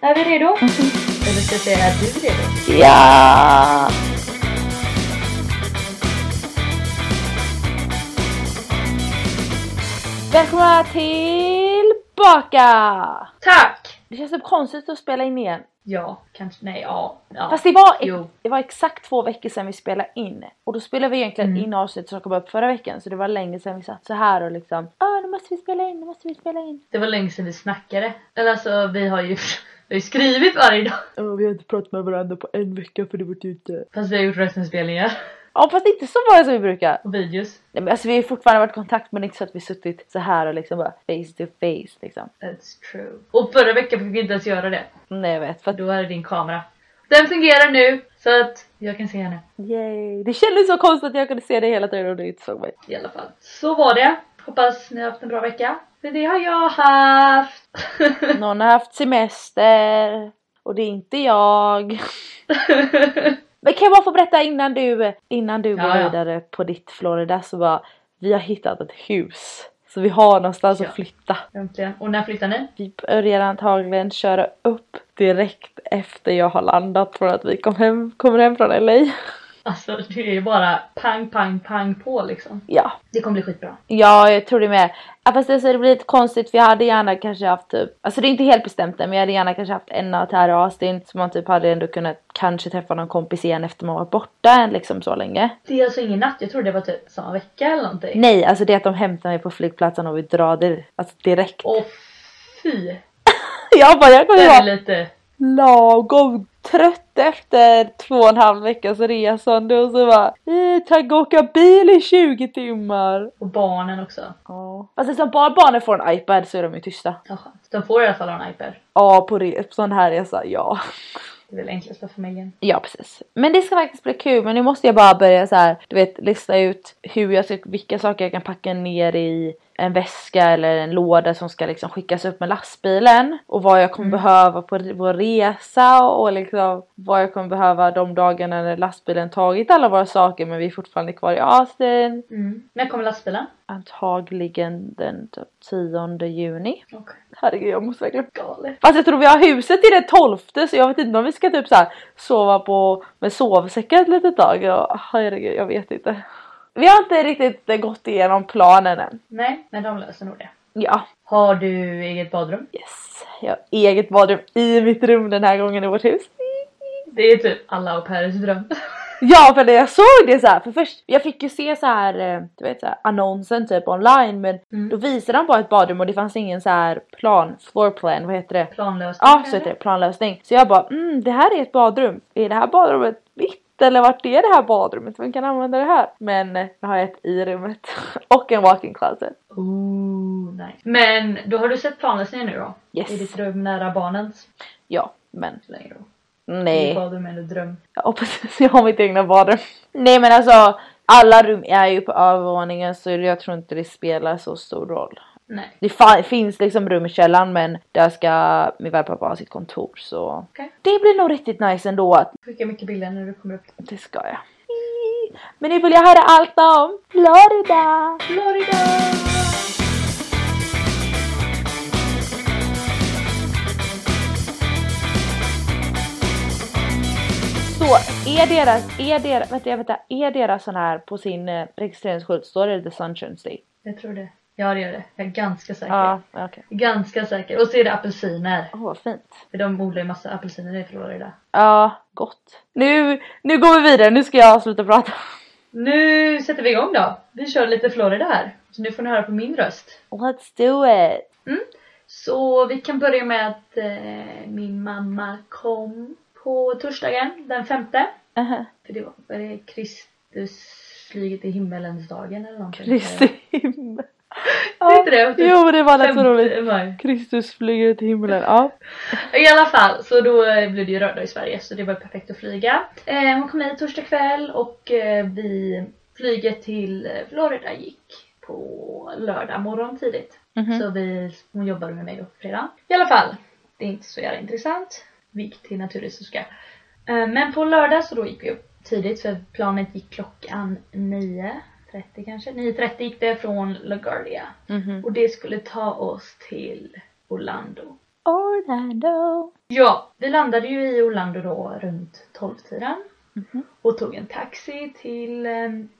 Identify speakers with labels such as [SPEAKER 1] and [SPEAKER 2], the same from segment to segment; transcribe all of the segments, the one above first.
[SPEAKER 1] Är vi redo? Eller ska jag säga, är du redo?
[SPEAKER 2] Ja! Välkomna tillbaka!
[SPEAKER 1] Tack!
[SPEAKER 2] Det känns typ konstigt att spela in igen.
[SPEAKER 1] Ja, kanske, nej, ja. ja.
[SPEAKER 2] Fast det var,
[SPEAKER 1] Jo.
[SPEAKER 2] det var exakt två veckor sedan vi spelade in. Och då spelade vi egentligen
[SPEAKER 1] Mm.
[SPEAKER 2] in avsnittet som kom upp förra veckan. Så det var länge sedan vi satt så här och liksom ah nu måste vi spela in, nu måste vi spela in.
[SPEAKER 1] Det var länge sedan vi snackade. Eller alltså, vi har ju, vi har ju skrivit varje dag.
[SPEAKER 2] vi har inte pratat med varandra på en vecka för det var ute.
[SPEAKER 1] Fast vi har gjort röstinspelningar
[SPEAKER 2] Ja fast inte så många som vi brukar.
[SPEAKER 1] och videos.
[SPEAKER 2] Nej, men alltså, vi har fortfarande varit i kontakt men inte så att vi suttit så här och liksom bara face to face liksom.
[SPEAKER 1] That's true. Och förra veckan fick vi inte ens göra det.
[SPEAKER 2] Nej jag vet. För att,
[SPEAKER 1] Då är det din kamera. Den fungerar nu så att jag kan se henne
[SPEAKER 2] yay. Det kändes så konstigt att jag kunde se dig hela tiden och du inte såg mig.
[SPEAKER 1] i alla fall. Så var det. Hoppas ni har haft en bra vecka. För det har jag haft.
[SPEAKER 2] Någon har haft semester och det är inte jag. Men kan jag bara få berätta innan du, innan du går
[SPEAKER 1] Ja, ja.
[SPEAKER 2] vidare på ditt Florida så bara vi har hittat ett hus. Så vi har någonstans
[SPEAKER 1] Ja.
[SPEAKER 2] att flytta.
[SPEAKER 1] Äntligen. Och när flyttar ni?
[SPEAKER 2] Vi börjar antagligen köra upp direkt efter jag har landat från att vi kom hem, kommer hem från LA.
[SPEAKER 1] Alltså det är ju bara pang, pang, pang på liksom.
[SPEAKER 2] Ja,
[SPEAKER 1] Det kommer bli skitbra.
[SPEAKER 2] Ja, jag tror det med. Ja, fast alltså, det blir lite konstigt för jag hade gärna kanske haft typ, alltså det är inte helt bestämt än men jag hade gärna kanske haft en natt här i Austin så man typ hade ändå kunnat kanske träffa någon kompis igen efter man varit borta liksom så länge.
[SPEAKER 1] Det är alltså ingen natt, jag trodde det var typ samma vecka eller någonting.
[SPEAKER 2] Nej, alltså det är att de hämtar mig på flygplatsen och vi drar dir- alltså direkt.
[SPEAKER 1] Åh fy!
[SPEAKER 2] Jag bara, jag
[SPEAKER 1] Det
[SPEAKER 2] kommer
[SPEAKER 1] är
[SPEAKER 2] vara
[SPEAKER 1] lite...
[SPEAKER 2] lagom trött efter två och en halv veckas resande och så bara, eh, tänk åka bil i 20 timmar.
[SPEAKER 1] Och barnen också.
[SPEAKER 2] Ja. Fast eftersom bara barnen får en iPad så är de ju tysta.
[SPEAKER 1] Ja, skönt. De får i alla fall ha en iPad.
[SPEAKER 2] Ja, på, re- på sån här resa, ja.
[SPEAKER 1] Det är väl enklast för familjen.
[SPEAKER 2] Ja precis. Men det ska faktiskt bli kul. Men nu måste jag bara börja så här, du vet lista ut hur jag ska, vilka saker jag kan packa ner i en väska eller en låda som ska liksom skickas upp med lastbilen. Och vad jag kommer
[SPEAKER 1] Mm.
[SPEAKER 2] behöva på vår resa och liksom vad jag kommer behöva de dagarna när lastbilen tagit alla våra saker men vi är fortfarande kvar i Austin.
[SPEAKER 1] Mm. När kommer lastbilen?
[SPEAKER 2] Antagligen den typ 10 juni.
[SPEAKER 1] Okej.
[SPEAKER 2] Herregud jag måste verkligen
[SPEAKER 1] Galet.
[SPEAKER 2] Fast jag tror vi har huset till den tolfte så jag vet inte om vi ska typ så här sova på med sovsäckar ett litet tag. Ja, herregud, jag vet inte. Vi har inte riktigt eh, gått igenom planen än.
[SPEAKER 1] Nej, men de löser nog det.
[SPEAKER 2] Ja,
[SPEAKER 1] Har du eget badrum?
[SPEAKER 2] yes. Jag har eget badrum i mitt rum den här gången i vårt hus.
[SPEAKER 1] Det är typ alla och Peres dröm.
[SPEAKER 2] Ja för när jag såg det så här, för först, jag fick ju se så här, eh, du vet så här, annonsen typ online men
[SPEAKER 1] Mm.
[SPEAKER 2] då visade de bara ett badrum och det fanns ingen så här plan, floor plan, vad heter det?
[SPEAKER 1] Planlöst.
[SPEAKER 2] Ja, så heter det. Planlösning. Så jag bara, mm, det här är ett badrum. Är det här badrummet mitt? Eller vart är det här badrummet? Vem kan använda det här? Men eh, nu har jag ett i rummet. Och en walk-in closet.
[SPEAKER 1] Ooh, nice. Men då har du sett planlösningen nu då?
[SPEAKER 2] Yes.
[SPEAKER 1] I ditt rum nära barnens?
[SPEAKER 2] Ja, men
[SPEAKER 1] Så länge då. Ditt
[SPEAKER 2] nej.
[SPEAKER 1] badrum är en dröm.
[SPEAKER 2] Jag hoppas att jag har mitt egna badrum. Nej men alltså, alla rum är ju på övervåningen så jag tror inte det spelar så stor roll.
[SPEAKER 1] Nej.
[SPEAKER 2] Det fa- finns liksom rum i källaren men där ska min värdpappa ha sitt kontor så.
[SPEAKER 1] Okej.
[SPEAKER 2] Det blir nog riktigt nice ändå att
[SPEAKER 1] Skicka mycket bilder när du kommer upp.
[SPEAKER 2] Det ska jag. Men nu vill jag höra allt om Florida!
[SPEAKER 1] Florida!
[SPEAKER 2] Så är deras, är deras, vänta, vänta, är deras sån här på sin eh, registreringsskylt, står det The Sunshine State?
[SPEAKER 1] Jag tror det. Ja det gör det. Jag är ganska säker.
[SPEAKER 2] Ja, okej.
[SPEAKER 1] Ganska säker. Och så är det apelsiner.
[SPEAKER 2] Åh vad fint.
[SPEAKER 1] För de odlar ju massa apelsiner i Florida.
[SPEAKER 2] Ja, gott. Nu, nu går vi vidare, nu ska jag sluta prata.
[SPEAKER 1] Nu sätter vi igång då. Vi kör lite Florida här. Så nu får ni höra på min röst.
[SPEAKER 2] Let's do it!
[SPEAKER 1] Så vi kan börja med att eh, min mamma kom på torsdagen den femte.
[SPEAKER 2] Uh-huh.
[SPEAKER 1] För det var var det Kristus flyget i himmelens dagen eller någonting.
[SPEAKER 2] Kristi himmel.
[SPEAKER 1] Är inte det? Typ
[SPEAKER 2] Jo, det var lätt så
[SPEAKER 1] femte
[SPEAKER 2] roligt.
[SPEAKER 1] maj.
[SPEAKER 2] Kristus flyger till himlen. Ja.
[SPEAKER 1] I alla fall, så då eh, blev det ju röda i Sverige så det var perfekt att flyga. Eh, hon kom hit torsdag kväll och eh, vi, flyget till eh, Florida gick på lördag morgon tidigt.
[SPEAKER 2] Mhm.
[SPEAKER 1] Så vi, hon jobbade med mig då på fredag. I alla fall, det är inte så jävla intressant. Vi gick till naturhistoriska. Eh, Men på lördag så då gick vi upp tidigt för planet gick klockan 9.30 kanske. 9.30 gick det från LaGuardia.
[SPEAKER 2] Mhm.
[SPEAKER 1] Och det skulle ta oss till Orlando.
[SPEAKER 2] Orlando.
[SPEAKER 1] Ja, vi landade ju i Orlando då runt 12-tiden. Och tog en taxi till, eh,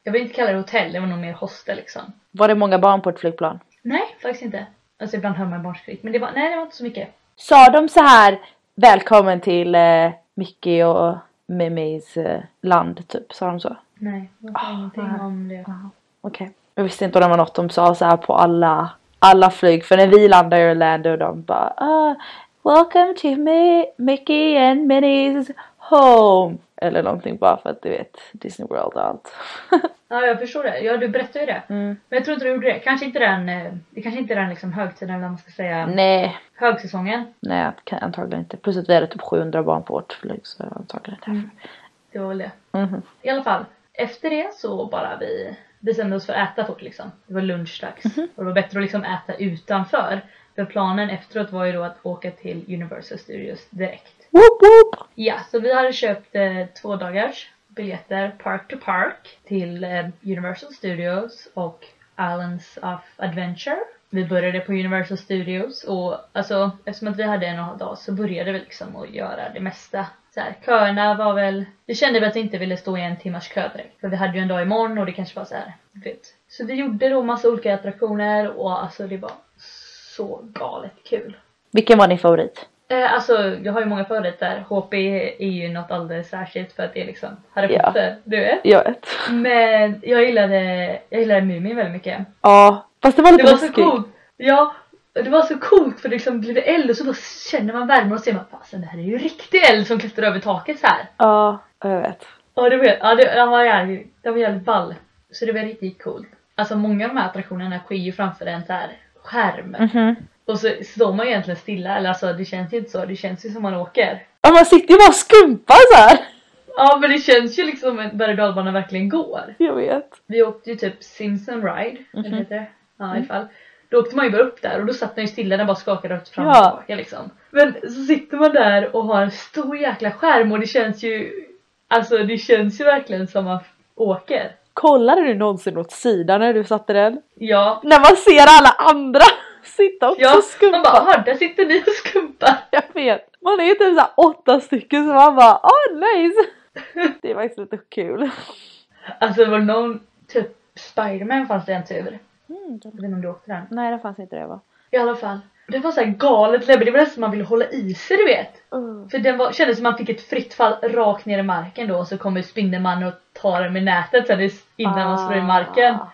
[SPEAKER 1] jag vill inte kalla det hotell, det var nog mer hostel liksom.
[SPEAKER 2] Var det många barn på ett flygplan?
[SPEAKER 1] Nej, faktiskt inte. Alltså ibland hör man barnskrik, men det var, nej det var inte så mycket.
[SPEAKER 2] Sa de så här välkommen till eh, Mickey och Mimis eh, land typ? Sa de så?
[SPEAKER 1] Nej, det var
[SPEAKER 2] Ah,
[SPEAKER 1] ingenting
[SPEAKER 2] nej.
[SPEAKER 1] om det.
[SPEAKER 2] Okej. Jag visste inte om det var något de sa så här på alla, alla flyg. För när vi landade i Orlando och de bara ah, Welcome to Mi- Mickey and Minnie's home. Eller någonting bara för att du vet Disney World och allt.
[SPEAKER 1] Ja, jag förstår det. Ja, du berättade ju det.
[SPEAKER 2] Mm.
[SPEAKER 1] Men jag tror inte du gjorde det. Kanske inte den, eh, det kanske inte är den liksom högtiden, eller vad man ska säga,
[SPEAKER 2] Nej,
[SPEAKER 1] högsäsongen.
[SPEAKER 2] nej jag kan- antagligen inte. Plus att vi hade typ 700 barn på vårt flyg så antagligen inte. Mhm. Mm.
[SPEAKER 1] Det var väl det. I alla fall, efter det så bara vi bestämde oss för att äta fort liksom. Det var lunchdags. Och det var bättre att liksom äta utanför. För planen efteråt var ju då att åka till Universal Studios direkt.
[SPEAKER 2] Woop, woop.
[SPEAKER 1] Ja, så vi hade köpt eh, två dagars biljetter park to park till eh, Universal Studios och Islands of Adventure. Vi började på Universal Studios och alltså eftersom att vi hade en och en halv dag så började vi liksom att göra det mesta. Så här, köerna var väl, vi kände väl att vi inte ville stå i en timmars kö direkt för vi hade ju en dag imorgon och det kanske var så här, du vet. Så vi gjorde då massa olika attraktioner och alltså det var så galet kul.
[SPEAKER 2] Vilken var din favorit?
[SPEAKER 1] Eh, alltså jag har ju många favoriter. HP är ju något alldeles särskilt för att det är liksom Harry
[SPEAKER 2] Ja.
[SPEAKER 1] Potter, du vet.
[SPEAKER 2] Jag vet.
[SPEAKER 1] Men jag gillade, jag gillade Mumin väldigt mycket.
[SPEAKER 2] Ja, fast det var
[SPEAKER 1] Det
[SPEAKER 2] lite
[SPEAKER 1] var så
[SPEAKER 2] läskigt.
[SPEAKER 1] coolt! Ja, det var så coolt för det liksom blev eld och så bara känner man värmen och ser man fasen det här är ju riktig eld som klättrar över taket så här.
[SPEAKER 2] Ja, jag vet.
[SPEAKER 1] Ja, det var, ja det, den var jävligt, den var jävligt ball. Så det var riktigt coolt. Alltså många av de här attraktionerna sker ju framför en så här skärm.
[SPEAKER 2] Mhm.
[SPEAKER 1] Och så står man ju egentligen stilla, eller alltså det känns ju inte så, det känns ju som man åker.
[SPEAKER 2] Ja, man sitter ju bara och skumpar så här.
[SPEAKER 1] Ja men det känns ju liksom att berg och dalbana verkligen går.
[SPEAKER 2] Jag vet.
[SPEAKER 1] Vi åkte ju typ Simpson Ride,
[SPEAKER 2] Mhm.
[SPEAKER 1] eller heter det? Ja
[SPEAKER 2] Mm.
[SPEAKER 1] i alla fall. Då åkte man ju bara upp där och då satt den ju stilla, den bara skakade rakt fram och
[SPEAKER 2] Ja.
[SPEAKER 1] tillbaka liksom. Men så sitter man där och har en stor jäkla skärm och det känns ju, alltså det känns ju verkligen som man åker.
[SPEAKER 2] Kollade du någonsin åt sidan när du satte den?
[SPEAKER 1] Ja.
[SPEAKER 2] När man ser alla andra sitta också
[SPEAKER 1] Ja,
[SPEAKER 2] och skumpa.
[SPEAKER 1] man bara "Aha, där sitter ni och skumpar.
[SPEAKER 2] Jag vet. Man är ju typ såhär åtta stycken så man bara ah nice. Det är faktiskt lite kul.
[SPEAKER 1] Alltså det var någon, typ Spiderman fanns det en tur. Jag vet inte om du åkte den.
[SPEAKER 2] Mm. Nej det fanns inte det va?
[SPEAKER 1] I alla fall. Det var så här galet läbbigt, det var nästan man ville hålla i sig du vet. För den var, kändes som man fick ett fritt fall rakt ner i marken då och så kommer Spindelmannen och tar den med nätet sen is- innan man slår i marken.
[SPEAKER 2] Ah.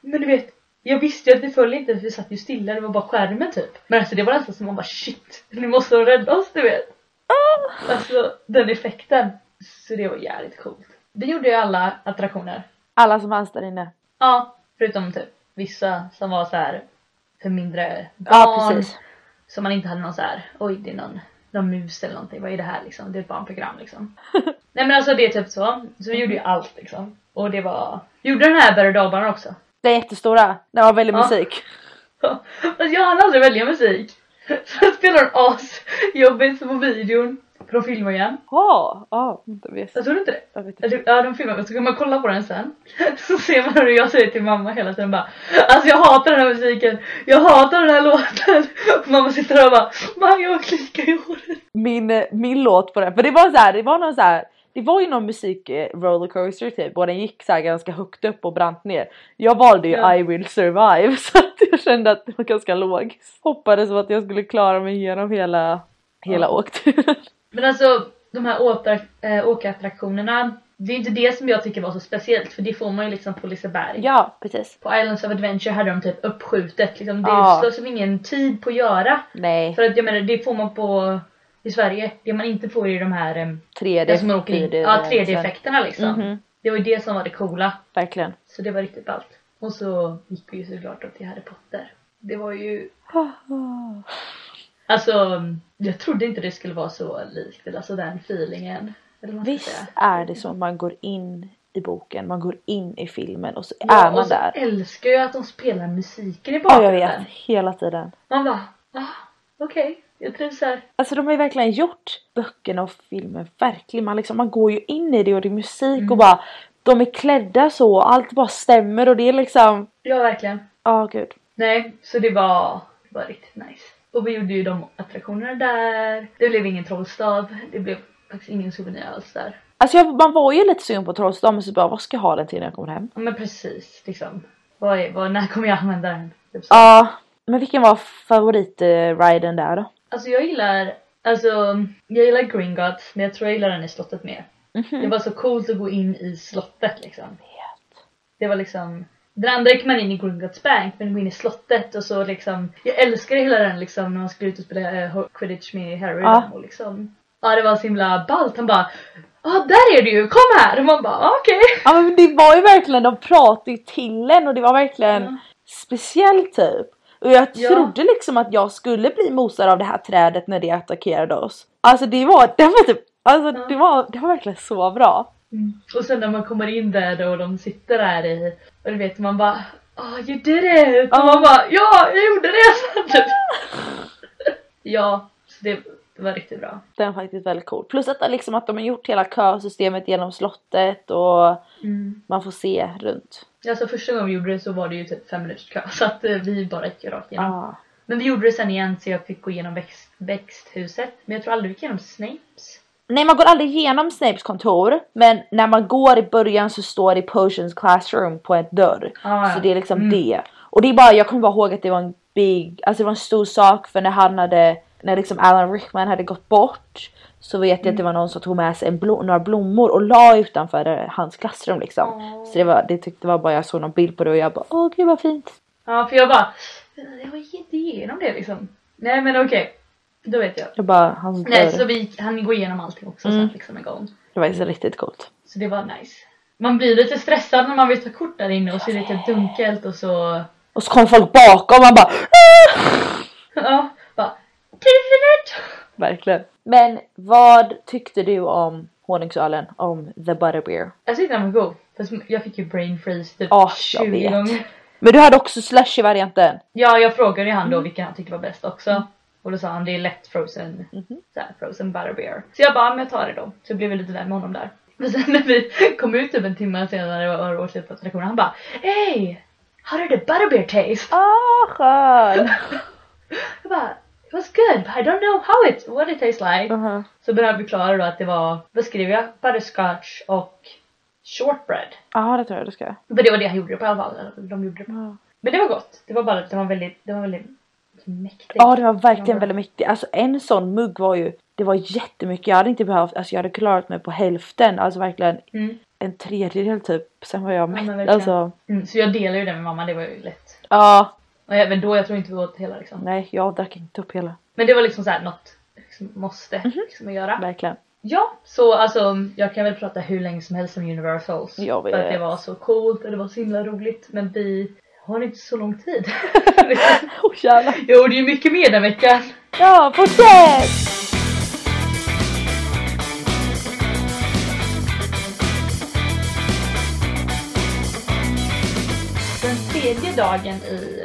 [SPEAKER 1] Men du vet, jag visste ju att vi föll inte för vi satt ju stilla, det var bara skärmen typ. Men alltså det var nästan som man bara shit, nu måste de rädda oss du vet.
[SPEAKER 2] Ah.
[SPEAKER 1] Alltså den effekten. Så det var jävligt coolt. Vi gjorde ju alla attraktioner.
[SPEAKER 2] Alla som fanns där inne.
[SPEAKER 1] Ja, förutom typ vissa som var så här för mindre barn.
[SPEAKER 2] Ja precis.
[SPEAKER 1] Så man inte hade någon så här, oj det är någon, någon mus eller någonting, vad är det här liksom? Det är ett barnprogram liksom. Nej men alltså det är typ så. Så vi gjorde ju allt liksom. Och det var, gjorde den här berg och dalbanan också.
[SPEAKER 2] Den jättestora. Den var väldigt
[SPEAKER 1] Ja.
[SPEAKER 2] musik.
[SPEAKER 1] Fast jag hann aldrig välja musik. Så jag spelade as jobbigt på videon. För de filmar igen.
[SPEAKER 2] Ja, ja. Jag vet.
[SPEAKER 1] Jag tror inte det.
[SPEAKER 2] Jag vet inte.
[SPEAKER 1] Eller, Ja de filmar men så kan man kolla på den sen. Så ser man hur jag säger till mamma hela tiden bara Alltså jag hatar den här musiken, jag hatar den här låten. Och mamma sitter där och bara Man jag har klickat i håret.
[SPEAKER 2] min, eh, min låt på den. För det var så här, det var någon så här. Det var ju någon musik eh, rollercoaster typ och den gick så här ganska högt upp och brant ner. Jag valde ju
[SPEAKER 1] Ja.
[SPEAKER 2] I will survive så att jag kände att det var ganska logiskt. Hoppades på att jag skulle klara mig igenom hela, hela
[SPEAKER 1] Ja.
[SPEAKER 2] åkturen.
[SPEAKER 1] Men alltså de här åter, äh, åkattraktionerna Det är inte det som jag tycker var så speciellt för det får man ju liksom på Liseberg.
[SPEAKER 2] Ja precis.
[SPEAKER 1] På Islands of Adventure hade de typ uppskjutet liksom. Det
[SPEAKER 2] Ja.
[SPEAKER 1] slår som ingen tid på att göra.
[SPEAKER 2] Nej.
[SPEAKER 1] För att jag menar det får man på i Sverige. Det man inte får är ju de här ehm,
[SPEAKER 2] 3D.
[SPEAKER 1] det som man åker in,
[SPEAKER 2] 4D,
[SPEAKER 1] ja, 3D-effekterna liksom.
[SPEAKER 2] Mhm.
[SPEAKER 1] Det var ju det som var det coola.
[SPEAKER 2] Verkligen.
[SPEAKER 1] Så det var riktigt ballt. Och så gick vi ju såklart då till Harry Potter. Det var ju, alltså jag trodde inte det skulle vara så likt, eller alltså den feelingen. Eller vad man ska säga.
[SPEAKER 2] Visst är det så man går in i boken, man går in i filmen och så
[SPEAKER 1] Ja,
[SPEAKER 2] är man
[SPEAKER 1] och så
[SPEAKER 2] där.
[SPEAKER 1] älskar jag att de spelar musiken i
[SPEAKER 2] Ja jag
[SPEAKER 1] bakgrunden.
[SPEAKER 2] vet, hela tiden.
[SPEAKER 1] Man bara, ah, okej, jag trivs här.
[SPEAKER 2] Alltså de har ju verkligen gjort böckerna och filmen verkligen. Man, liksom, man går ju in i det och det är musik
[SPEAKER 1] Mm.
[SPEAKER 2] och bara de är klädda så och allt bara stämmer och det är liksom
[SPEAKER 1] Ja, verkligen.
[SPEAKER 2] ja gud.
[SPEAKER 1] Nej, så det var, det var riktigt nice. Och vi gjorde ju de attraktionerna där. Det blev ingen trollstav. Det blev faktiskt ingen souvenir alls där.
[SPEAKER 2] Alltså jag, man var ju lite sugen på Trollstav men så bara vad ska jag ha den till när jag kommer hem?
[SPEAKER 1] Ja men precis liksom. Vad är, vad, när kommer jag använda den? Typ så.
[SPEAKER 2] Ja, men vilken var favoritriden där då?
[SPEAKER 1] Alltså jag gillar, alltså jag gillar Gringotts men jag tror jag gillar den i slottet mer.
[SPEAKER 2] Mhm.
[SPEAKER 1] Det var så coolt att gå in i slottet liksom. Det var liksom den andra gick man in i Gringotts bank men gå in i slottet och så liksom Jag älskade hela den liksom när man skulle ut och spela eh, quidditch med Harry
[SPEAKER 2] Ja.
[SPEAKER 1] och liksom Ja det var så himla ballt, han bara Ja ah, där är du ju, kom här! Och man bara ah, okej
[SPEAKER 2] Ja men det var ju verkligen, de pratade ju till en och det var verkligen speciell typ. Och jag
[SPEAKER 1] Ja.
[SPEAKER 2] trodde liksom att jag skulle bli mosad av det här trädet när det attackerade oss. Alltså det var, det var typ, alltså
[SPEAKER 1] Ja.
[SPEAKER 2] det, var, det var verkligen så bra.
[SPEAKER 1] Mm. Och sen när man kommer in där då och de sitter där i och du vet man bara Oh you did it!
[SPEAKER 2] Ja.
[SPEAKER 1] Och man bara ja jag gjorde det! Typ. ja, så det var riktigt bra.
[SPEAKER 2] Den är faktiskt väldigt cool. Plus att, liksom, att de har gjort hela kösystemet genom slottet och
[SPEAKER 1] Mm.
[SPEAKER 2] man får se runt.
[SPEAKER 1] Alltså första gången vi gjorde det så var det ju typ fem minuters kö så att eh, vi bara gick rakt igenom.
[SPEAKER 2] Ah.
[SPEAKER 1] Men vi gjorde det sen igen så jag fick gå igenom växt, växthuset men jag tror aldrig vi gick igenom Snapes.
[SPEAKER 2] Nej man går aldrig igenom Snapes kontor men när man går i början så står det Potions Classroom på en dörr.
[SPEAKER 1] Ah,
[SPEAKER 2] Så det är liksom
[SPEAKER 1] Mm.
[SPEAKER 2] det. Och det är bara, jag kommer bara ihåg att det var en big, alltså det var en stor sak för när han hade, när liksom Alan Rickman hade gått bort så vet jag att
[SPEAKER 1] Mm.
[SPEAKER 2] det var någon som tog med sig en blom, några blommor och la utanför eh, hans klassrum liksom.
[SPEAKER 1] Åh.
[SPEAKER 2] Så det var, det tyckte var bara, jag såg någon bild på det och jag bara åh gud vad fint.
[SPEAKER 1] Ja för jag bara jag gick inte igenom det liksom. Nej men okej, då vet jag.
[SPEAKER 2] Jag bara, hans
[SPEAKER 1] Nej
[SPEAKER 2] dörr.
[SPEAKER 1] så vi gick, han går igenom allting också
[SPEAKER 2] Mm.
[SPEAKER 1] sen liksom en gång.
[SPEAKER 2] Det var faktiskt riktigt coolt.
[SPEAKER 1] Så det var nice. Man blir lite stressad när man vill ta kort där inne och så är det lite dunkelt och så...
[SPEAKER 2] Och så kom folk bakom och man bara "Äh!"
[SPEAKER 1] Ja, bara... "Tio minut!"
[SPEAKER 2] Verkligen. Men vad tyckte du om honungsölen? Om the butterbeer?
[SPEAKER 1] Jag tyckte den var god. Fast jag fick ju brain freeze typ
[SPEAKER 2] Ah, jag
[SPEAKER 1] 20
[SPEAKER 2] vet.
[SPEAKER 1] gånger.
[SPEAKER 2] Men du hade också slushy-varianten.
[SPEAKER 1] Ja, jag frågade ju han
[SPEAKER 2] Mm.
[SPEAKER 1] då vilken han tyckte var bäst också. Och då sa han det är lätt frozen,
[SPEAKER 2] Mhm.
[SPEAKER 1] så här, frozen butterbeer. Så jag bara, men jag tar det då. Så jag blev lite vän med honom där. Men sen när vi kom ut typ en timme senare och åt lite på attraktionen, typ, han bara Hey! How did the butterbeer taste?
[SPEAKER 2] Ah, skön!
[SPEAKER 1] Jag bara, it was good but I don't know how it, what it tastes like.
[SPEAKER 2] uh
[SPEAKER 1] Så började jag förklara då att det var, vad skrev jag? Butterscotch och shortbread.
[SPEAKER 2] Ja, det tror jag du ska.
[SPEAKER 1] Men det var det han gjorde det på i alla fall. eller De gjorde det på. Men det var gott. Det var bara att det var väldigt, det var väldigt mäktigt.
[SPEAKER 2] Ja, det var verkligen
[SPEAKER 1] bra.
[SPEAKER 2] väldigt mäktigt. Alltså en sån mugg var ju, det var jättemycket. Jag hade inte behövt, alltså jag hade klarat mig på hälften. Alltså verkligen
[SPEAKER 1] Mm.
[SPEAKER 2] en tredjedel typ. Sen var jag
[SPEAKER 1] men
[SPEAKER 2] mätt.
[SPEAKER 1] verkligen.
[SPEAKER 2] alltså,
[SPEAKER 1] Mm, så jag delade ju det med mamma, det var ju lätt.
[SPEAKER 2] ja.
[SPEAKER 1] Och även då, jag tror inte vi åt hela liksom.
[SPEAKER 2] Nej, jag drack inte upp hela.
[SPEAKER 1] Men det var liksom såhär något liksom, måste
[SPEAKER 2] Mhm.
[SPEAKER 1] liksom, att göra.
[SPEAKER 2] Verkligen.
[SPEAKER 1] Ja, så alltså jag kan väl prata hur länge som helst om Universals.
[SPEAKER 2] Jag
[SPEAKER 1] För att det
[SPEAKER 2] vet.
[SPEAKER 1] var så coolt och det var så himla roligt. Men vi har inte så lång tid.
[SPEAKER 2] Åh Oh, jävlar.
[SPEAKER 1] jag gjorde ju mycket mer den veckan.
[SPEAKER 2] Ja, fortsätt!
[SPEAKER 1] Den tredje dagen i,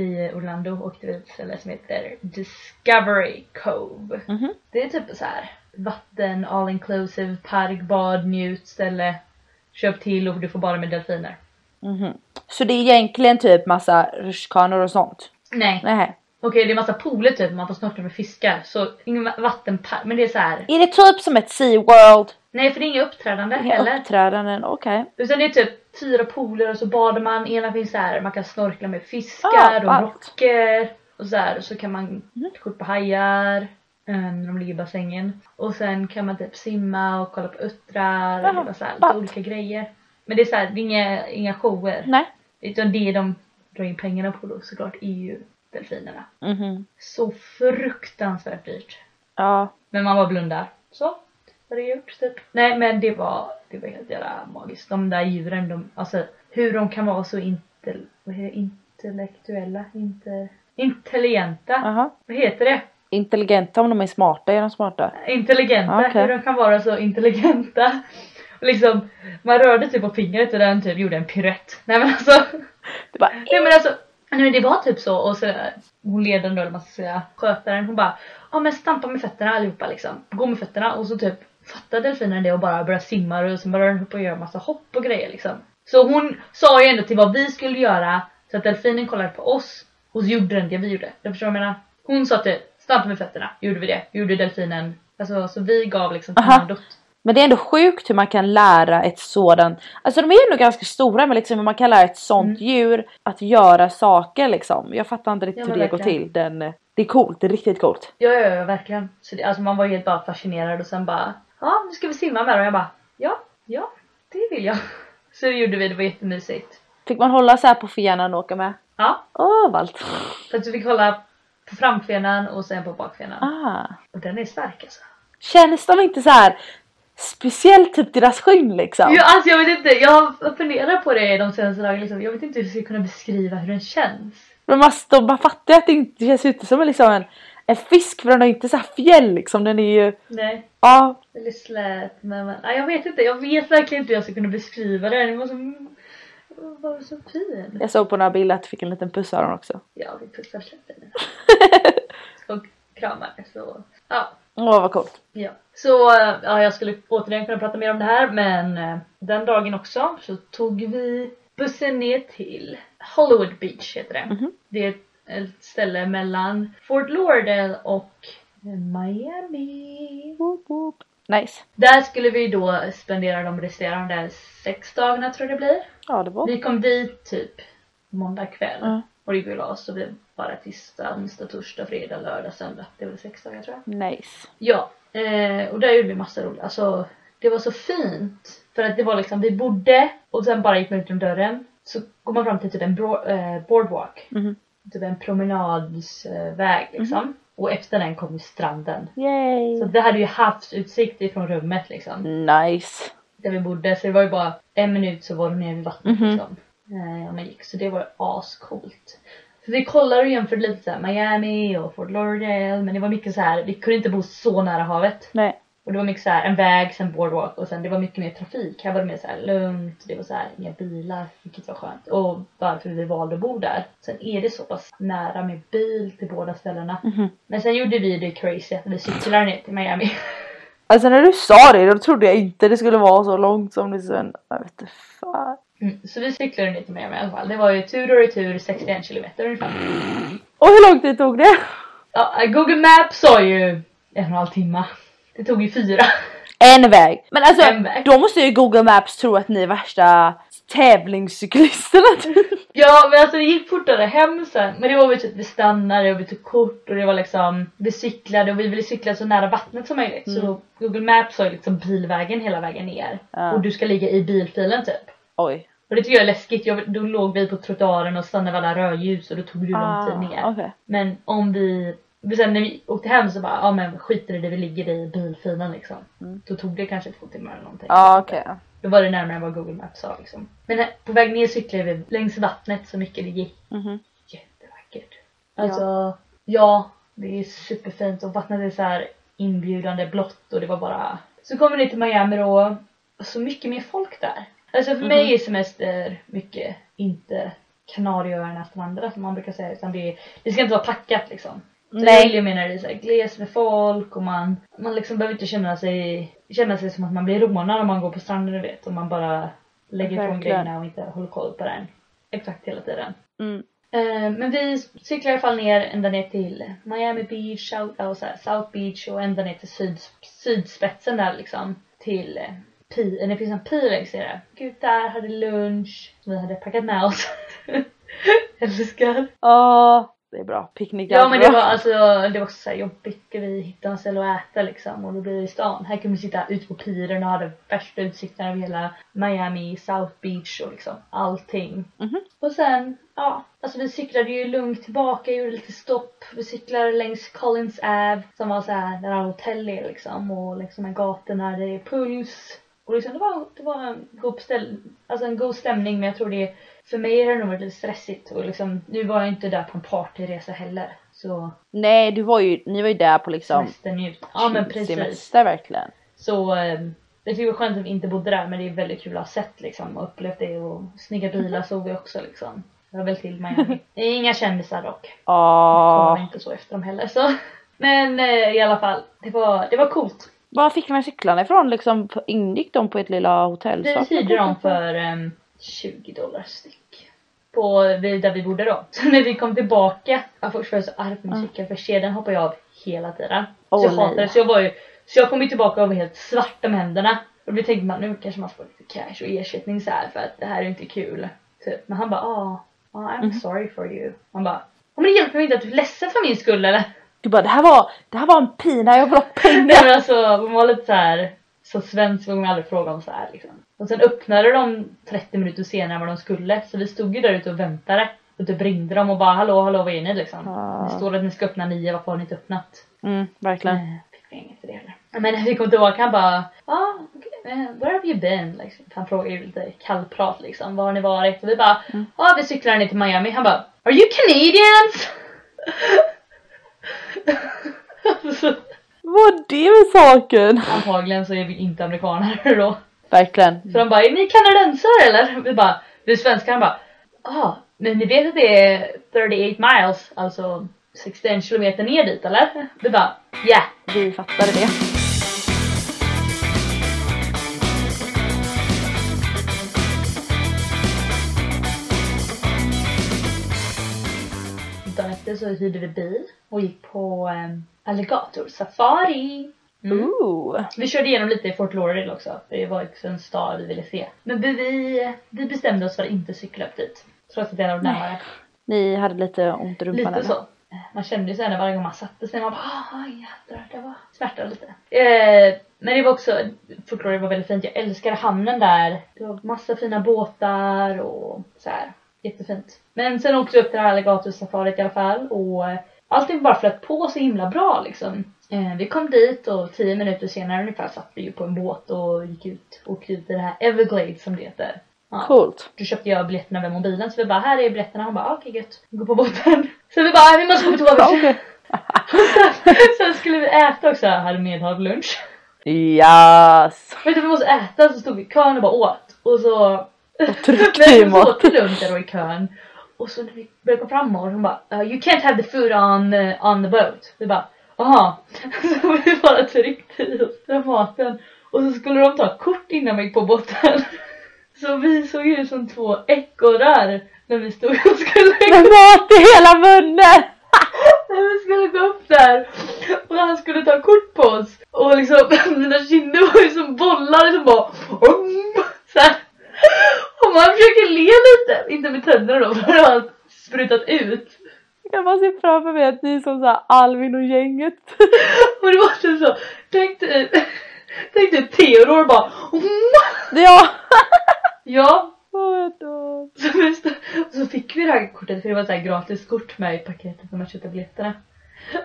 [SPEAKER 1] i Orlando åkte vi till ett ställe som heter Discovery Cove.
[SPEAKER 2] Mhm.
[SPEAKER 1] Det är typ så här vatten, all inclusive, park, bad, njut, ställe. Köp till och du får bara med delfiner.
[SPEAKER 2] Mhm. Så det är egentligen typ massa rutschkanor och sånt?
[SPEAKER 1] Nej.
[SPEAKER 2] Nej.
[SPEAKER 1] Okej det är massa pooler typ man får snorkla med fiskar. Så ingen va- vattenpark. Men det är så här.
[SPEAKER 2] Är det typ som ett Sea World?
[SPEAKER 1] Nej för det är inga uppträdande
[SPEAKER 2] Eller?
[SPEAKER 1] heller.
[SPEAKER 2] Uppträdanden, okej.
[SPEAKER 1] Utan det är typ fyra pooler och så badar man. Ena finns så här, man kan snorkla med
[SPEAKER 2] Ah, Mm.
[SPEAKER 1] fiskar och
[SPEAKER 2] ballt.
[SPEAKER 1] rocker. Och så här, och så kan man skjuta på hajar. eh, När de ligger i bassängen. Och sen kan man typ simma och kolla på uttrar.
[SPEAKER 2] Ah,
[SPEAKER 1] och det var så här, lite
[SPEAKER 2] ballt.
[SPEAKER 1] olika grejer. Men det är så här, det är inga, inga shower.
[SPEAKER 2] Nej.
[SPEAKER 1] Utan det de drar in pengarna på då såklart är ju delfinerna.
[SPEAKER 2] Mhm.
[SPEAKER 1] Så fruktansvärt dyrt.
[SPEAKER 2] Ja.
[SPEAKER 1] Men man bara blundar. Så. Vad det gjort typ. Nej men det var, det var helt jävla magiskt. De där djuren, de, alltså hur de kan vara så inte, vad heter det? intellektuella, inte, intelligenta.
[SPEAKER 2] Aha.
[SPEAKER 1] Vad heter det?
[SPEAKER 2] Intelligenta om de är smarta, är de smarta?
[SPEAKER 1] Intelligenta.
[SPEAKER 2] Ja, okej.
[SPEAKER 1] Hur de kan vara så intelligenta. Och liksom, man rörde typ på fingret och den typ gjorde en piruett. Nej men alltså.
[SPEAKER 2] Det bara,
[SPEAKER 1] Nej men alltså, nej, men det var typ så och så hon ledaren då eller vad man ska säga, skötaren hon bara ja men stampa med fötterna allihopa liksom. Gå med fötterna och så typ fattar delfinen det och bara börjar simma och sen börjar den upp och göra massa hopp och grejer liksom. Så hon sa ju ändå till vad vi skulle göra så att delfinen kollade på oss och så gjorde den det vi gjorde. Du förstår vad jag menar? Hon sa typ stampa med fötterna, gjorde vi det. Gjorde delfinen. Alltså så vi gav liksom
[SPEAKER 2] Aha.
[SPEAKER 1] kommandot.
[SPEAKER 2] Men det är ändå sjukt hur man kan lära ett sådant, alltså de är ju ändå ganska stora men liksom hur man kan lära ett sånt djur att göra saker liksom. Jag fattar inte riktigt
[SPEAKER 1] Mm. Ja, men
[SPEAKER 2] hur det går
[SPEAKER 1] verkligen.
[SPEAKER 2] till. Den, eh, det är coolt, det är riktigt coolt.
[SPEAKER 1] Ja, ja, ja verkligen. Så det, alltså man var ju helt bara fascinerad och sen bara ja nu ska vi simma med dem. Jag bara ja, ja det vill jag. Så det gjorde vi, det var jättemysigt.
[SPEAKER 2] Fick man hålla så här på fenan och åka med?
[SPEAKER 1] Ja,
[SPEAKER 2] Åh vad allt.
[SPEAKER 1] för att du fick hålla på framfenan och sen på bakfenan.
[SPEAKER 2] Ah.
[SPEAKER 1] Och den är stark alltså.
[SPEAKER 2] Känns de inte så här speciellt typ deras skinn liksom?
[SPEAKER 1] Ja, alltså jag vet inte, jag har funderat på det de senaste dagarna liksom. Jag vet inte hur jag ska kunna beskriva hur den känns.
[SPEAKER 2] Men man, de, man fattar ju att det inte känns inte som en, liksom en, en fisk för den har ju inte så här fjäll liksom. Den är ju,
[SPEAKER 1] Nej.
[SPEAKER 2] ja.
[SPEAKER 1] Eller slät men men- nej, jag vet inte, jag vet verkligen inte hur jag ska kunna beskriva den. Den var så... Var så fin.
[SPEAKER 2] Jag såg på några bilder att du fick en liten puss av den också.
[SPEAKER 1] Ja, vi pussar käften. Och kramar så... Ja.
[SPEAKER 2] Åh vad coolt.
[SPEAKER 1] Ja. Så eh, ja, jag skulle återigen kunna prata mer om det här men eh, den dagen också så tog vi bussen ner till Hollywood Beach heter det.
[SPEAKER 2] Mhm.
[SPEAKER 1] Det är ett, ett ställe mellan Fort Lauderdale och eh, Miami.
[SPEAKER 2] Woop, woop. Nice.
[SPEAKER 1] Där skulle vi då spendera de resterande sex dagarna tror jag det blir.
[SPEAKER 2] Ja det var.
[SPEAKER 1] Vi kom dit typ måndag kväll
[SPEAKER 2] Ja.
[SPEAKER 1] och det gick vi och la oss så vi var där tisdag, onsdag, torsdag, fredag, lördag, söndag. Det var sex dagar tror jag.
[SPEAKER 2] Nice.
[SPEAKER 1] Ja, eh, och där gjorde vi massa roligt. Alltså, det var så fint. För att det var liksom, vi bodde och sen bara gick man ut genom dörren. Så går man fram till typ en bro- eh, boardwalk.
[SPEAKER 2] Mhm.
[SPEAKER 1] Typ en promenadsväg liksom. Och efter den kom ju stranden.
[SPEAKER 2] Yay.
[SPEAKER 1] Så vi hade ju havsutsikt ifrån rummet liksom.
[SPEAKER 2] Nice.
[SPEAKER 1] Där vi bodde. Så det var ju bara en minut så var det nere vid vattnet
[SPEAKER 2] Mhm.
[SPEAKER 1] liksom. Eh, och man gick. Så det var ascoolt. För vi kollade och jämförde lite såhär Miami och Fort Lauderdale. Men det var mycket så här. vi kunde inte bo så nära havet.
[SPEAKER 2] Nej.
[SPEAKER 1] Och det var mycket så här, en väg, sen boardwalk och sen det var mycket mer trafik. Här var det mer så här lugnt, det var så här, inga bilar, vilket var skönt. Och varför vi valde att bo där. Sen är det så pass nära med bil till båda ställena.
[SPEAKER 2] Mhm.
[SPEAKER 1] Men sen gjorde vi det crazy att vi cyklade ner till Miami.
[SPEAKER 2] Alltså när du sa det då trodde jag inte det skulle vara så långt som det sen. Jag vet inte fan.
[SPEAKER 1] Mm, så vi cyklade ner till Miami i alla fall. Det var ju tur och retur 61 kilometer ungefär.
[SPEAKER 2] Och hur lång tid tog det?
[SPEAKER 1] Ja, Google Maps sa ju en och en halv timme. Det tog ju fyra.
[SPEAKER 2] En väg. Men alltså
[SPEAKER 1] En väg.
[SPEAKER 2] då måste ju Google Maps tro att ni är värsta tävlingscyklisterna typ.
[SPEAKER 1] Ja men alltså det gick fortare hem sen. Men det var väl typ vi stannade och vi tog kort och det var liksom vi cyklade och vi ville cykla så nära vattnet som möjligt. Så Google Maps har ju liksom bilvägen hela vägen ner.
[SPEAKER 2] Ja.
[SPEAKER 1] Och du ska ligga i bilfilen typ.
[SPEAKER 2] Ah, Oj.
[SPEAKER 1] Och det tycker jag är läskigt. Jag, då låg vi på trottoaren och stannade vid alla rödljus och då tog det ju
[SPEAKER 2] Ah,
[SPEAKER 1] lång tid ner.
[SPEAKER 2] okej.
[SPEAKER 1] Men om vi... men Sen när vi åkte hem så bara, ja men skiter i det, vi ligger i bilfilen liksom. Då tog det kanske två timmar eller någonting.
[SPEAKER 2] Ja Ah, okej.
[SPEAKER 1] Då var det närmare vad Google Maps sa liksom. Men här- på väg ner cyklade vi längs vattnet så mycket det gick.
[SPEAKER 2] Mhm.
[SPEAKER 1] Jättevackert. Alltså, ja. ja, det är superfint och vattnet är så här inbjudande blått och det var bara... Så kommer vi till Miami då, och så mycket mer folk där. Alltså för mig är semester mycket inte Kanarieöarna strandra som man brukar säga utan det, är, det ska inte vara packat liksom. Så
[SPEAKER 2] Nej.
[SPEAKER 1] Jag vill ju mena det är så här gles med folk och man, man liksom behöver inte känna sig, känna sig som att man blir rånad om man går på stranden du vet och man bara lägger ifrån
[SPEAKER 2] Verkligen.
[SPEAKER 1] grejerna och inte håller koll på den exakt hela tiden.
[SPEAKER 2] Mm.
[SPEAKER 1] Eh, men vi cyklar i alla fall ner ända ner till Miami Beach, South, och så här, South Beach och ända ner till syd, sydspetsen där liksom. Till eh, Pi, eh, det finns en pi längs ner där. Gick ut där, hade lunch, vi hade packat med oss. Älskar.
[SPEAKER 2] Åh, Ah, det är bra. Picknick är
[SPEAKER 1] Ja men det
[SPEAKER 2] bra.
[SPEAKER 1] var alltså, det var så här jobbigt. Vi hittade en ställe att äta liksom och då blev det i stan. Här kunde vi sitta ute på piren och hade värsta utsikten över hela Miami, South Beach och liksom allting.
[SPEAKER 2] Mhm.
[SPEAKER 1] Och sen, ja, alltså vi cyklade ju lugnt tillbaka, gjorde lite stopp. Vi cyklade längs Collins Ave som var så här där alla hotell är liksom och liksom en gatorna där det är puls. Och liksom det var, det var en god ställ, alltså en god stämning men jag tror det, för mig har det nog varit lite stressigt och liksom nu var jag inte där på en partyresa heller. Så
[SPEAKER 2] Nej, du var ju, ni var ju där på liksom
[SPEAKER 1] semestern ut. Ja men precis.
[SPEAKER 2] semester verkligen.
[SPEAKER 1] Så ehm, det tycker jag var skönt att vi inte bodde där men det är väldigt kul att ha sett liksom och upplevt det och snygga bilar såg vi också liksom. Jag var väl till Miami. Mhm. Det är Inga kändisar dock. Kollar
[SPEAKER 2] Åh.
[SPEAKER 1] inte så efter dem heller så. Men eh, i alla fall, det var, det var coolt.
[SPEAKER 2] Var fick de här cyklarna ifrån liksom? Ingick de på ett lilla hotell?
[SPEAKER 1] Vi hyrde dem för ehm, 20 dollar styck. på, vi- där vi bodde då. Så när vi kom tillbaka, ja, först var jag så arg på min cykel för kedjan hoppade jag av hela tiden.
[SPEAKER 2] Åh,
[SPEAKER 1] så jag
[SPEAKER 2] nej.
[SPEAKER 1] hatade det. Så jag var ju, så jag kom ju tillbaka och var helt svart om händerna. Och då tänkte man nu kanske man får lite cash och ersättning så här för att det här är inte kul. Typ. Men han bara ah, ah, I'm
[SPEAKER 2] Mhm.
[SPEAKER 1] sorry for you. Han bara, "Ja, men det hjälper mig inte att du är ledsen för min skull eller?
[SPEAKER 2] Du bara, det här var, det här var en pina, jag vill ha pengar.
[SPEAKER 1] Nej men alltså man var lite så här så svensk var man aldrig fråga om så här liksom. Och sen öppnade de 30 minuter senare än vad de skulle så vi stod ju där ute och väntade. Och typ ringde de och bara hallå hallå vad är ni liksom?
[SPEAKER 2] Ja.
[SPEAKER 1] Det står att ni ska öppna nio, varför har ni inte öppnat?
[SPEAKER 2] Mm, verkligen.
[SPEAKER 1] Nej, fick vi inget för det heller. Men när vi kom tillbaka han bara ja ah, okej, eh, where have you been? Liksom. Han frågade ju lite kallprat liksom, var har ni varit? Och vi bara ja ah, vi cyklade ner till Miami. Han bara are you Canadians? alltså,
[SPEAKER 2] Vad är det med saken?
[SPEAKER 1] Antagligen så är vi inte amerikaner då.
[SPEAKER 2] Verkligen.
[SPEAKER 1] Så de bara, är ni kanadensare eller? Vi bara, vi svenskar Han bara, ah, men ni vet att det är 38 miles, alltså 61 kilometer ner dit eller? Vi bara, ja. Yeah.
[SPEAKER 2] Vi fattade det.
[SPEAKER 1] Dagen efter så hyrde vi bil och gick på um, alligator safari. Mm.
[SPEAKER 2] Ooh.
[SPEAKER 1] Vi körde igenom lite i Fort Lauderdale också, för det var också en stad vi ville se. Men vi, vi bestämde oss för att inte cykla upp dit. Trots att det var närmare.
[SPEAKER 2] Ni hade lite ont i rumpan
[SPEAKER 1] Lite
[SPEAKER 2] eller?
[SPEAKER 1] så. Man kände ju såhär varje gång man satte sig, man bara ah jädrar, det var smärta lite. Eh, men det var också, Fort Lauderdale var väldigt fint, jag älskade hamnen där. Det var massa fina båtar och så här. jättefint. Men sen åkte vi upp till det här alligatorsafariet i alla fall och eh, allting bara flöt på så himla bra liksom. Eh, vi kom dit och tio minuter senare ungefär satt vi ju på en båt och gick ut och åkte ut i det här Everglades som det heter. Ja.
[SPEAKER 2] Coolt.
[SPEAKER 1] Då köpte jag biljetterna med mobilen så vi bara här är biljetterna. Han bara ah, okej gött. Vi går på båten. Så vi bara vi måste gå på toa
[SPEAKER 2] Ja,
[SPEAKER 1] först.
[SPEAKER 2] okej.
[SPEAKER 1] sen, sen skulle vi äta också. Jag hade medhavd lunch.
[SPEAKER 2] Yes!
[SPEAKER 1] Men typ, vi måste äta så stod vi i kön och bara åt. Och så
[SPEAKER 2] Tryck
[SPEAKER 1] men
[SPEAKER 2] i
[SPEAKER 1] vi åt
[SPEAKER 2] mat.
[SPEAKER 1] till lunch där då i kön. Och så när vi började gå framåt hon bara "Uh, you can't have the food on, eh, on the boat. Vi bara aha. Så vi bara tryckte i oss den maten. Och så skulle de ta kort innan vi gick på båten. Så vi såg ut som två ekorrar när vi stod och skulle
[SPEAKER 2] Med mat i hela munnen!
[SPEAKER 1] när vi skulle gå upp där och han skulle ta kort på oss och liksom mina kinder var ju som bollar som bara om, så här. Och man försöker le lite, inte med tänderna då för det har sprutat ut.
[SPEAKER 2] Jag bara ser framför mig att ni är som så här Alvin och gänget.
[SPEAKER 1] Och det var typ så, tänk dig tänk dig Theodor bara om.
[SPEAKER 2] Ja!
[SPEAKER 1] Ja,
[SPEAKER 2] Åh, jag dör.
[SPEAKER 1] så, vi stod- och så fick vi det här kortet för det var ett så här gratis kort med i paketet när man köpte biljetterna.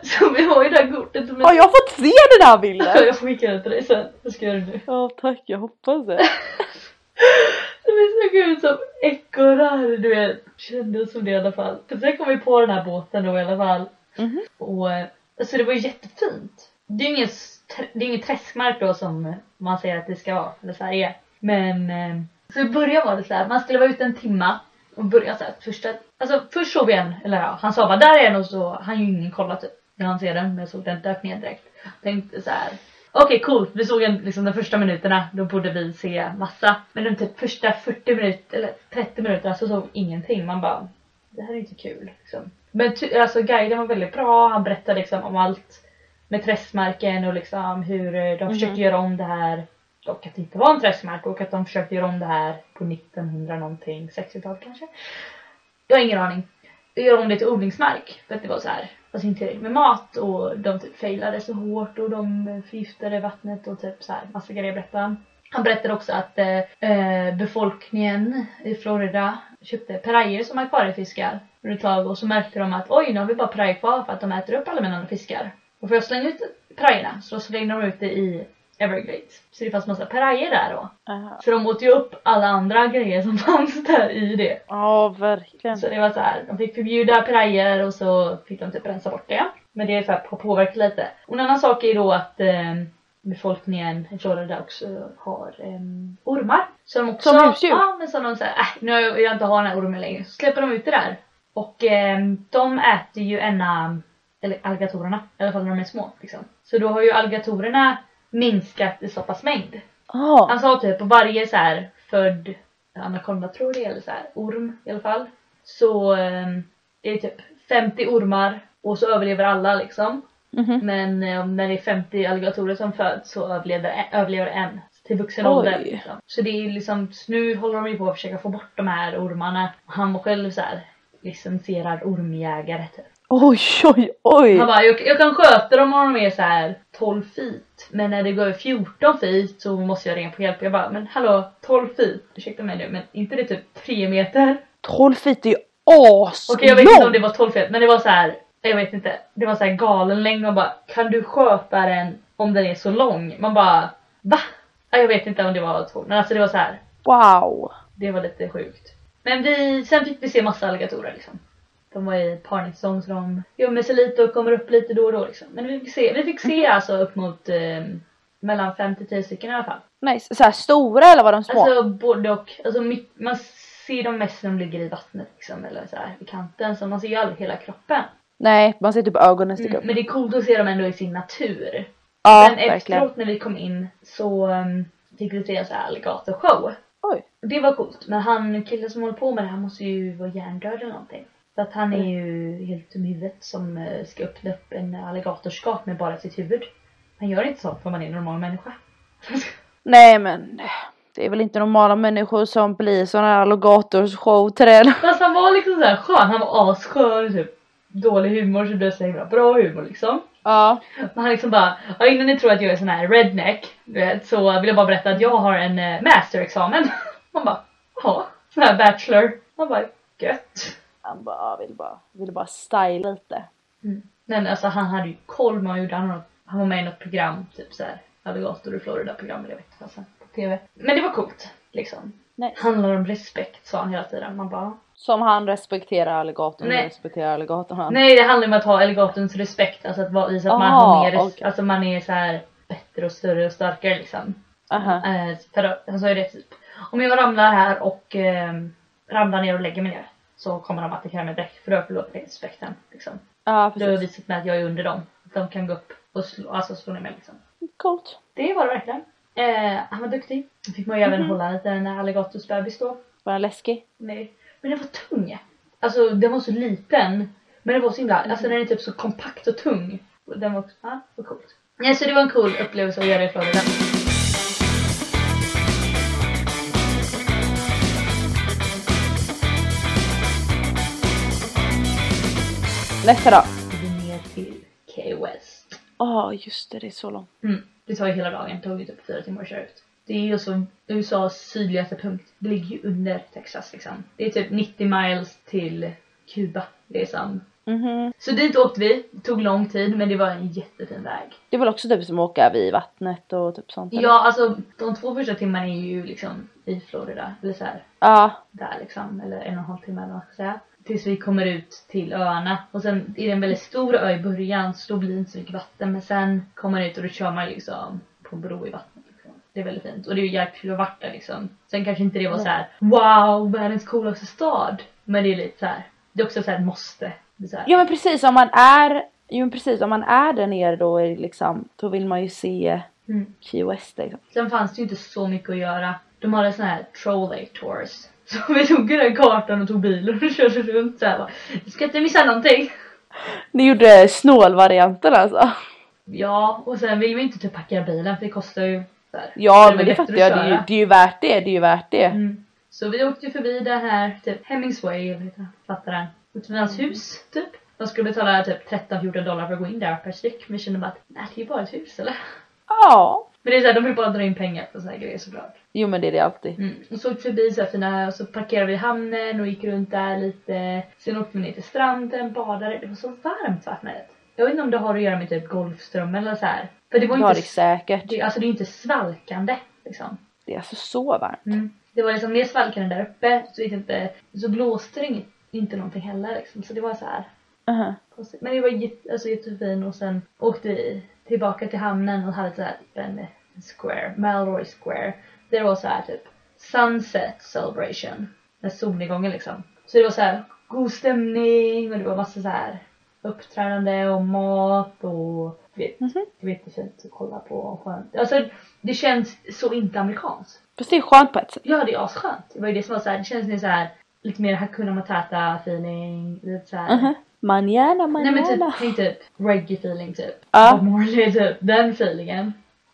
[SPEAKER 1] Så vi har ju det här kortet.
[SPEAKER 2] Har jag fått se den här bilden?
[SPEAKER 1] jag skickar det till dig sen, jag ska göra det nu.
[SPEAKER 2] Ja tack, jag hoppas det.
[SPEAKER 1] Vi såg ut som ekorrar, du vet. Kändes som det i alla fall. För sen kom vi på den här båten då i alla fall.
[SPEAKER 2] Mhm.
[SPEAKER 1] Och eh, alltså det var ju jättefint. Det är ju ingen, str- det är ingen träskmark då som man säger att det ska vara, eller så här är. Men eh, så i början var det så här, man skulle vara ute en timma och börja så här, första, alltså först såg vi en, eller ja, han sa bara där är en och så han ju ingen kollat typ. När han ser den, men jag såg den dök ner direkt. Tänkte så här. Okej coolt, vi såg en, liksom de första minuterna, då borde vi se massa. Men de typ första 40 minuter eller 30 minuterna så såg vi ingenting. Man bara, det här är inte kul liksom. Men ty- alltså guiden var väldigt bra, han berättade liksom om allt med träskmarken och liksom hur eh, de försökte göra om det här och att det inte var en träskmark och att de försökte göra om det här på 1900 någonting, 60-talet kanske. Jag har ingen aning. Göra om det till odlingsmark för att det var så här, alltså inte tillräckligt med mat och de typ failade så hårt och de förgiftade vattnet och typ så här massa grejer berättade han. Han berättade också att eh, eh, befolkningen i Florida köpte pirayor som akvariefiskar under ett tag och så märkte de att oj, nu har vi bara pirayor kvar för att de äter upp alla mina andra fiskar. Och för att slänga ut pirajorna så slängde de ut det i Everglades. Så det fanns massa pirajor där då. Så de åt ju upp alla andra grejer som fanns där i det.
[SPEAKER 2] Ja verkligen.
[SPEAKER 1] Så det var så här, de fick förbjuda pirajer och så fick de typ rensa bort det. Men det är så här, på- påverkar lite. Och en annan sak är då att eh, befolkningen i Florida också har eh, ormar. Som, också,
[SPEAKER 2] Som husdjur?
[SPEAKER 1] Ja, men som de säger, äh, nu har jag- vill jag inte ha den här ormen längre. Så släpper de ut det där. Och eh, de äter ju ena, eller alligatorerna, i alla fall när de är små. Liksom. Så då har ju alligatorerna minskat i så pass mängd.
[SPEAKER 2] Ja.
[SPEAKER 1] Ah, Han sa typ på varje så här född anakonda tror jag det är, eller så här orm i alla fall. Så eh, det är typ 50 ormar och så överlever alla liksom.
[SPEAKER 2] Mhm.
[SPEAKER 1] Men eh, om när det är 50 alligatorer som föds så överlever, överlever en till vuxen
[SPEAKER 2] Oj.
[SPEAKER 1] ålder. Liksom. Så det är liksom, så nu håller de ju på att försöka få bort de här ormarna. Han var själv så här licensierad ormjägare typ.
[SPEAKER 2] Oj, oj, oj!
[SPEAKER 1] Han bara, jag, jag kan sköta dem om de är så här 12 feet. Men när det går över 14 feet så måste jag ringa på hjälp. Jag bara, men hallå 12 feet? Ursäkta mig nu, men inte det typ 3 meter?
[SPEAKER 2] 12 feet är ju aslångt!
[SPEAKER 1] Okej jag vet inte om det var 12 feet, men det var så här. Jag vet inte. Det var så här galen längd. Man bara, kan du sköta den om den är så lång? Man bara, va? Ja, Jag vet inte om det var 12, men alltså det var så här.
[SPEAKER 2] Wow!
[SPEAKER 1] Det var lite sjukt. Men vi, sen fick vi se massa alligatorer liksom. De var i parningssäsong så de gömmer sig lite och kommer upp lite då och då liksom. Men vi fick se, vi fick
[SPEAKER 2] Mm.
[SPEAKER 1] se alltså upp mot eh, mellan 5 till 10 stycken i alla fall.
[SPEAKER 2] Nice. Så här stora eller var de små?
[SPEAKER 1] Alltså både och. Alltså, my- man ser dem mest när de ligger i vattnet liksom, eller så här vid kanten. Så man ser ju aldrig hela kroppen.
[SPEAKER 2] Nej, man ser typ ögonen sticka upp.
[SPEAKER 1] Mm, men det är coolt att se dem ändå i sin natur.
[SPEAKER 2] ja,
[SPEAKER 1] Sen
[SPEAKER 2] verkligen.
[SPEAKER 1] efteråt när vi kom in så um, fick vi se en sån här alligatorshow.
[SPEAKER 2] Oj.
[SPEAKER 1] Det var coolt. Men han killen som håller på med det han måste ju vara hjärndöd eller någonting. För att han är ju helt dum i huvudet som eh, ska öppna upp en alligatorskap med bara sitt huvud. Man gör inte sånt om man är en normal människa.
[SPEAKER 2] Nej men, det är väl inte normala människor som blir sådana här alligatorshowträd.
[SPEAKER 1] Fast han var liksom så här skön. Han var asskön. Typ. Dålig humor så det blev så himla bra humor liksom.
[SPEAKER 2] Ja.
[SPEAKER 1] Och han liksom bara, ja, innan ni tror att jag är sån här redneck, du vet, så vill jag bara berätta att jag har en eh, masterexamen. Man bara, ja, sån här bachelor. Man bara, gött.
[SPEAKER 2] Han bara, ja, vill bara, vill bara styla lite.
[SPEAKER 1] Men alltså han hade ju koll man gjorde, han, var- han var med i något program, typ så här, alligator i Florida program eller jag vet inte fasen, på TV. Men det var coolt, liksom.
[SPEAKER 2] Nej.
[SPEAKER 1] Handlar om respekt sa han hela tiden. Man bara,
[SPEAKER 2] Som han respekterar alligatorn,
[SPEAKER 1] Nej.
[SPEAKER 2] Nej. respekterar alligatorn. Han.
[SPEAKER 1] nej det handlar om att ha alligatorns respekt, alltså att vara i så att man
[SPEAKER 2] Ah,
[SPEAKER 1] har mer, res-
[SPEAKER 2] okej.
[SPEAKER 1] alltså man är så här bättre och större och starkare liksom.
[SPEAKER 2] Aha.
[SPEAKER 1] Eh, för då, han sa ju det typ. Om jag ramlar här och eh, ramlar ner och lägger mig ner så kommer de attackera mig direkt för då förlorar jag respekten. Liksom.
[SPEAKER 2] Ja,
[SPEAKER 1] Då har jag
[SPEAKER 2] precis.
[SPEAKER 1] visat mig att jag är under dem. De kan gå upp och slå, alltså slå ner mig liksom.
[SPEAKER 2] Coolt.
[SPEAKER 1] Det var det verkligen. Eh, han var duktig. Då fick man ju även hålla en liten alligatorsbebis då.
[SPEAKER 2] Var den läskig?
[SPEAKER 1] Nej. Men den var tung. Alltså den var så liten. Men den var så himla, alltså den är typ så kompakt och tung. Och Den var, ja, var coolt. Nej så det var en cool upplevelse att göra i Florida.
[SPEAKER 2] Nästa dag.
[SPEAKER 1] Vi ner till Key West.
[SPEAKER 2] Ja, just det, det är så långt.
[SPEAKER 1] Mm. Det tar ju hela dagen, tog ju typ fyra timmar att köra ut. Det är ju som USAs sydligaste punkt. Det ligger ju under Texas liksom. Det är typ 90 miles till Kuba. Det är som.
[SPEAKER 2] Mhm.
[SPEAKER 1] Så dit åkte vi, det tog lång tid men det var en jättefin väg.
[SPEAKER 2] Det är väl också typ som att åka vid vattnet och typ sånt? eller?
[SPEAKER 1] Ja alltså de två första timmarna är ju liksom i Florida, eller så här,
[SPEAKER 2] Ja.
[SPEAKER 1] där liksom, eller en och en halv timme eller vad man ska säga. Tills vi kommer ut till öarna. Och sen är det en väldigt stor ö i början så då blir det inte så mycket vatten. Men sen kommer man ut och då kör man liksom på en bro i vattnet. Liksom. Det är väldigt fint. Och det är ju jäkligt kul att vara där liksom. Sen kanske inte det var så här: wow världens coolaste stad. Men det är lite så här. det är också så här ett måste. Det är så här,
[SPEAKER 2] Ja men precis om man är, jo men precis om man är där nere då är det liksom, då vill man ju se
[SPEAKER 1] Mm.
[SPEAKER 2] Key West liksom.
[SPEAKER 1] Sen fanns det ju inte så mycket att göra. De hade såna här trolley tours. Så vi tog den här kartan och tog bilen och körde runt såhär bara, "Vi ska inte missa någonting.
[SPEAKER 2] Ni gjorde snålvarianten alltså.
[SPEAKER 1] Ja, och sen vill vi inte typ parkera bilen för det kostar ju där.
[SPEAKER 2] Ja
[SPEAKER 1] är
[SPEAKER 2] men
[SPEAKER 1] väl
[SPEAKER 2] det
[SPEAKER 1] bättre
[SPEAKER 2] fattar
[SPEAKER 1] att
[SPEAKER 2] jag, det är, ju,
[SPEAKER 1] köra.
[SPEAKER 2] det är ju värt det, det är ju värt det.
[SPEAKER 1] Mm. Så vi åkte ju förbi den här typ Hemmingsway, eller heter fattar den. Utanför hans hus typ. De skulle betala typ 13-14 dollar för att gå in där per styck. Men vi kände bara att nej det är ju bara ett hus eller?
[SPEAKER 2] Ja.
[SPEAKER 1] Men det är såhär, de vill bara dra in pengar på såna här grejer såklart.
[SPEAKER 2] Jo men det är det alltid.
[SPEAKER 1] Mm. Och så åkte vi förbi så här fina, och så parkerade vi i hamnen och gick runt där lite. Sen åkte vi ner till stranden, badade. Det var så varmt vattnet. Jag vet inte om det har att göra med typ Golfström eller så här. För det var
[SPEAKER 2] Det har
[SPEAKER 1] inte
[SPEAKER 2] det säkert.
[SPEAKER 1] det, alltså det är inte svalkande liksom.
[SPEAKER 2] Det är alltså så varmt.
[SPEAKER 1] Det var liksom mer svalkande där uppe så, vet jag inte, så blåste det inget, inte någonting heller liksom. Så det var så här
[SPEAKER 2] Aha.
[SPEAKER 1] konstigt. Men det var jätte, alltså, jättefin och sen åkte vi tillbaka till hamnen och hade så här typ en en square, Malroy Square. Där det var så här typ sunset celebration. Med solnedgången liksom. Så det var så här god stämning och det var massa så här uppträdande och mat och du vet, det var jättefint att kolla på och skönt. Alltså det känns så inte amerikanskt.
[SPEAKER 2] Fast det är skönt på ett sätt.
[SPEAKER 1] Ja, det är asskönt. Det var ju det som var så här, det känns som en så här lite mer Hakuna Matata feeling, lite såhär.
[SPEAKER 2] Mhm. Manjana,
[SPEAKER 1] Nej men
[SPEAKER 2] manjana.
[SPEAKER 1] typ, tänk typ reggae feeling typ.
[SPEAKER 2] Ja.
[SPEAKER 1] Bob Marley typ, den feelingen.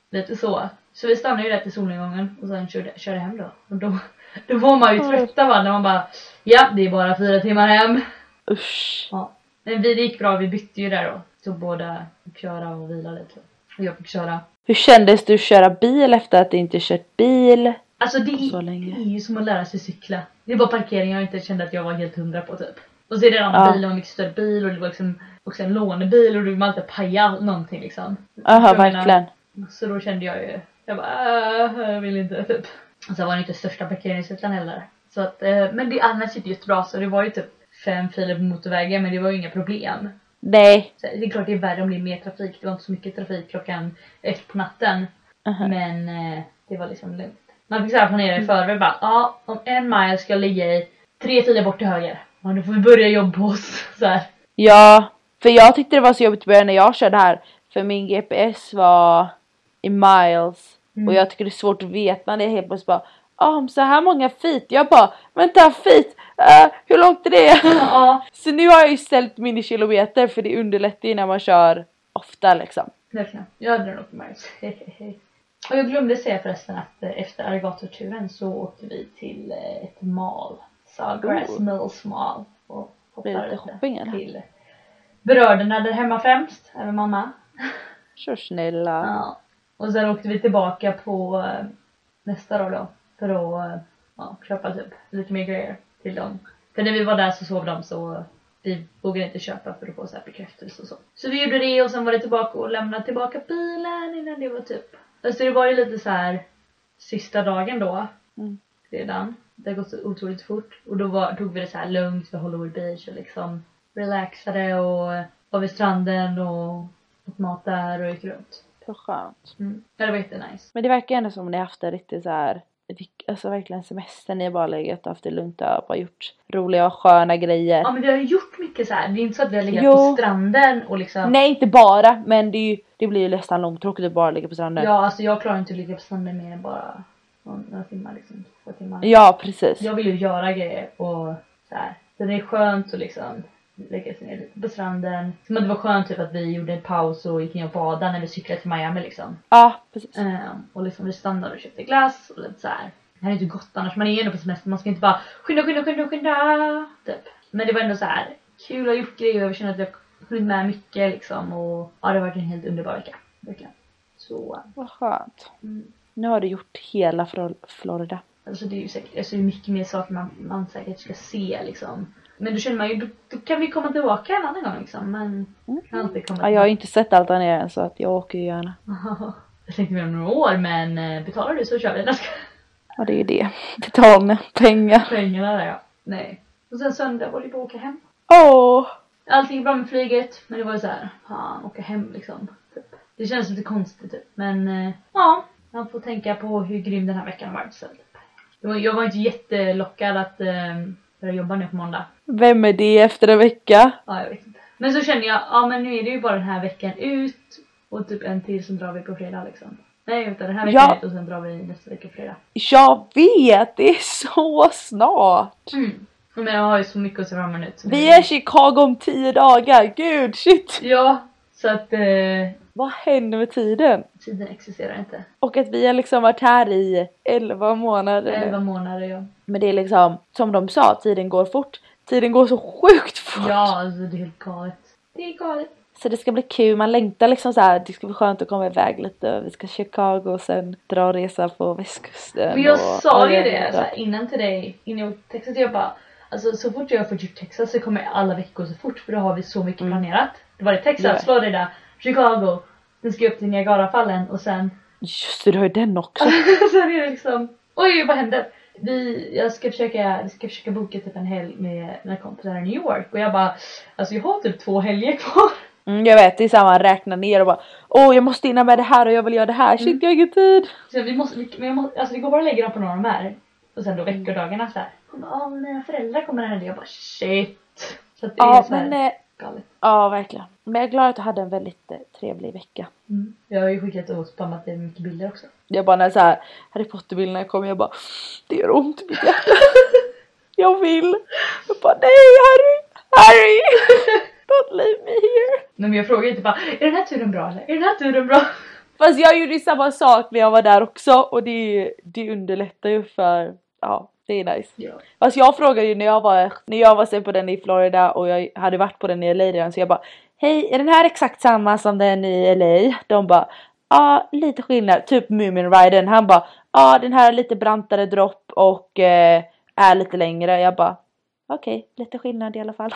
[SPEAKER 1] Lite så. Så vi stannade ju där till solnedgången och sen körde, körde hem då. Och då, då var man ju
[SPEAKER 2] Ja.
[SPEAKER 1] trötta va, när man bara ja det är bara fyra timmar hem.
[SPEAKER 2] Usch.
[SPEAKER 1] Ja. Men vi, det gick bra, vi bytte ju där då. Så båda fick köra och vila lite. Och jag fick köra.
[SPEAKER 2] Hur kändes du att köra bil efter att du inte kört bil?
[SPEAKER 1] Alltså det
[SPEAKER 2] Så
[SPEAKER 1] är,
[SPEAKER 2] länge.
[SPEAKER 1] det är ju som att lära sig cykla. Det var parkering jag inte kände att jag var helt hundra på typ. Och så är det en
[SPEAKER 2] Ja.
[SPEAKER 1] bil och en mycket större bil och det var liksom också en lånebil och du man alltid paja någonting liksom.
[SPEAKER 2] Jaha,
[SPEAKER 1] Jag menar,
[SPEAKER 2] verkligen.
[SPEAKER 1] Så då kände jag ju, jag bara äh, jag vill inte typ. Och sen var det inte största parkeringsrutan heller. Så att, eh, men det annars gick det jättebra så det var ju typ fem filer på motorvägen men det var ju inga problem.
[SPEAKER 2] Nej.
[SPEAKER 1] Så det är klart det är värre om det är mer trafik, det var inte så mycket trafik klockan ett på natten.
[SPEAKER 2] Aha.
[SPEAKER 1] Men eh, det var liksom lugnt. Man fick så här planera i förväg bara, ja om en mile ska jag ligga i tre filer bort till höger. Ja då får vi börja jobba oss. Så här.
[SPEAKER 2] Ja, för jag tyckte det var så jobbigt i början när jag körde här. För min GPS var i miles.
[SPEAKER 1] Mm.
[SPEAKER 2] Och jag tycker det är svårt att veta när det är helt plötsligt bara ah, om så här många feet. Jag bara vänta feet, eh, hur långt är det?
[SPEAKER 1] ja,
[SPEAKER 2] så nu har jag ju ställt min i kilometer för det underlättar ju när man kör ofta liksom.
[SPEAKER 1] verkligen. Jag hade den nog på miles. Och jag glömde säga förresten att eh, efter alligatorturen så åkte vi till eh, ett mall. Sawgrass
[SPEAKER 2] Ooh.
[SPEAKER 1] Mills Mall. Och
[SPEAKER 2] Blir det
[SPEAKER 1] hoppade
[SPEAKER 2] lite
[SPEAKER 1] lite
[SPEAKER 2] shopping eller?
[SPEAKER 1] till bröderna där hemma främst, även mamma.
[SPEAKER 2] Så snälla.
[SPEAKER 1] Ja. Och sen åkte vi tillbaka på eh, nästa dag då för att eh, ja, köpa typ lite mer grejer till dem. För när vi var där så sov de så eh, vi vågade inte köpa för att få så här bekräftelse och så. Så vi gjorde det och sen var det tillbaka och lämna tillbaka bilen innan det var typ. Alltså det var ju lite så här sista dagen då
[SPEAKER 2] Mm.
[SPEAKER 1] redan. Det har gått så otroligt fort och då var, tog vi det så här lugnt vid Hollywood Beach och liksom relaxade och eh, var vid stranden och åt mat där och gick runt.
[SPEAKER 2] Så skönt.
[SPEAKER 1] Mm. Ja, det var jättenice.
[SPEAKER 2] Men det verkar ändå som att ni har haft en riktigt så här vilk- Alltså verkligen semester, ni har bara legat och haft det lugnt och bara gjort roliga och sköna grejer.
[SPEAKER 1] Ja men vi har ju gjort mycket så här. det är inte så att vi har legat
[SPEAKER 2] Jo.
[SPEAKER 1] på stranden och liksom
[SPEAKER 2] Nej inte bara men det, är ju, det blir ju nästan långtråkigt att bara ligga på stranden. Ja,
[SPEAKER 1] Ja alltså jag klarar inte att ligga på stranden mer än bara någon- några timmar liksom, två timmar.
[SPEAKER 2] precis.
[SPEAKER 1] Jag vill ju göra grejer och så här. Så det är skönt att liksom lägga sig ner lite på stranden. Som att det var skönt typ att vi gjorde en paus och gick ner och badade när vi cyklade till Miami liksom.
[SPEAKER 2] Ja precis.
[SPEAKER 1] Ehm, och liksom vi stannade och köpte glass och lite så här. Det här är inte gott annars, man är ju ändå på semester, man ska inte bara skynda, skynda, skynda, skynda. Typ. Men det var ändå så här kul att ha gjort grejer och jag känner att jag har hunnit med mycket liksom och ja det har varit en helt underbar vecka. Verkligen. Så,
[SPEAKER 2] Vad skönt.
[SPEAKER 1] mm.
[SPEAKER 2] Nu har du gjort hela Flor- Florida.
[SPEAKER 1] alltså det är ju säkert, alltså det är mycket mer saker man, man säkert ska se liksom. Men då känner man ju, då, då kan vi komma tillbaka en annan gång liksom. Men kan alltid komma
[SPEAKER 2] Mm. Ja, jag har ju inte sett allt där nere än så att jag åker ju gärna.
[SPEAKER 1] tillbaka. Jag tänkte mer om några år men eh, betalar du så kör vi. Nej, jag skojar.
[SPEAKER 2] Ja det är ju det. Betalna pengar.
[SPEAKER 1] Pengarna där ja. Nej. Och sen söndag var det bara att åka hem.
[SPEAKER 2] Åh!
[SPEAKER 1] Allt gick bra med flyget men det var ju så här, fan åka hem liksom. Typ. Det känns lite konstigt typ. Men eh, ja, man får tänka på hur grym den här veckan har varit. Så, typ. Det var- Jag var inte jättelockad att eh, börja jobba nu på måndag.
[SPEAKER 2] Vem är det efter en vecka?
[SPEAKER 1] Ja, jag vet inte. Men så känner jag, ja men nu är det ju bara den här veckan ut och typ en till som drar vi på fredag liksom. Nej vänta, den här veckan
[SPEAKER 2] Ja.
[SPEAKER 1] ut och sen drar vi nästa vecka fredag.
[SPEAKER 2] Jag vet! Det är så snart!
[SPEAKER 1] Mm. Men jag har ju så mycket att se fram emot. så det
[SPEAKER 2] Vi är i Chicago om tio dagar! Gud shit!
[SPEAKER 1] Ja, så att eh,
[SPEAKER 2] Vad händer med tiden?
[SPEAKER 1] tiden existerar inte.
[SPEAKER 2] Och att vi har liksom varit här i 11 månader. nu.
[SPEAKER 1] 11 månader ja.
[SPEAKER 2] Men det är liksom, som de sa, tiden går fort. Tiden går så sjukt fort!
[SPEAKER 1] Ja, alltså det är helt galet. Det är galet.
[SPEAKER 2] Så det ska bli kul, man längtar liksom så här. det ska bli skönt att komma iväg lite. Vi ska till Chicago och sen dra och resa på västkusten.
[SPEAKER 1] Men jag
[SPEAKER 2] och-
[SPEAKER 1] sa ju
[SPEAKER 2] Ja,
[SPEAKER 1] det
[SPEAKER 2] ja,
[SPEAKER 1] så här, innan till dig, innan jag åkte till Texas, jag bara Alltså så fort jag har fått gjort Texas så kommer alla veckor så fort för då har vi så mycket planerat. Det var det Texas,
[SPEAKER 2] Det var det.
[SPEAKER 1] Florida, Chicago, sen ska jag upp till Niagarafallen och sen,
[SPEAKER 2] Just det, du har ju den också!
[SPEAKER 1] sen är det liksom oj vad händer? Vi, jag ska försöka, vi ska försöka boka typ en helg med mina kompisar i New York och jag bara alltså jag har typ två helger kvar.
[SPEAKER 2] Mm, jag vet, det är samma räkna ner och bara Åh jag måste hinna med det här och jag vill göra det här,
[SPEAKER 1] Mm.
[SPEAKER 2] shit jag har ingen tid!
[SPEAKER 1] Så vi måste, vi, men jag måste, alltså det går bara att lägga dem på några de är. Och sen då
[SPEAKER 2] Mm.
[SPEAKER 1] veckodagarna såhär. Hon bara, ah, men mina föräldrar kommer här. Jag bara shit. Så att det är
[SPEAKER 2] Ja
[SPEAKER 1] såhär
[SPEAKER 2] men, eh,
[SPEAKER 1] galet.
[SPEAKER 2] ja verkligen. Men jag är glad att du hade en väldigt eh, trevlig vecka.
[SPEAKER 1] Mm. Jag har ju skickat och spammat dig med mycket bilder också.
[SPEAKER 2] Jag bara när så här, Harry Potter bilderna kom jag bara Det gör ont i mitt hjärta. jag vill. Jag bara nej Harry, Harry! Don't leave me here.
[SPEAKER 1] Nej men jag frågade inte bara, är den här turen bra eller? Är den här turen bra?
[SPEAKER 2] Fast jag gjorde ju samma sak när jag var där också och det, är ju- det underlättar ju för, ja det är nice.
[SPEAKER 1] Ja.
[SPEAKER 2] Fast Alltså, jag frågade ju när jag var, när jag var sen på den i Florida och jag hade varit på den i LA redan så jag bara Hej, är den här exakt samma som den i LA? De bara Ja, lite skillnad. Typ Moomin Riden. Han bara Ja, den här är lite brantare dropp och eh, är lite längre. Jag bara Okej, lite skillnad i alla fall.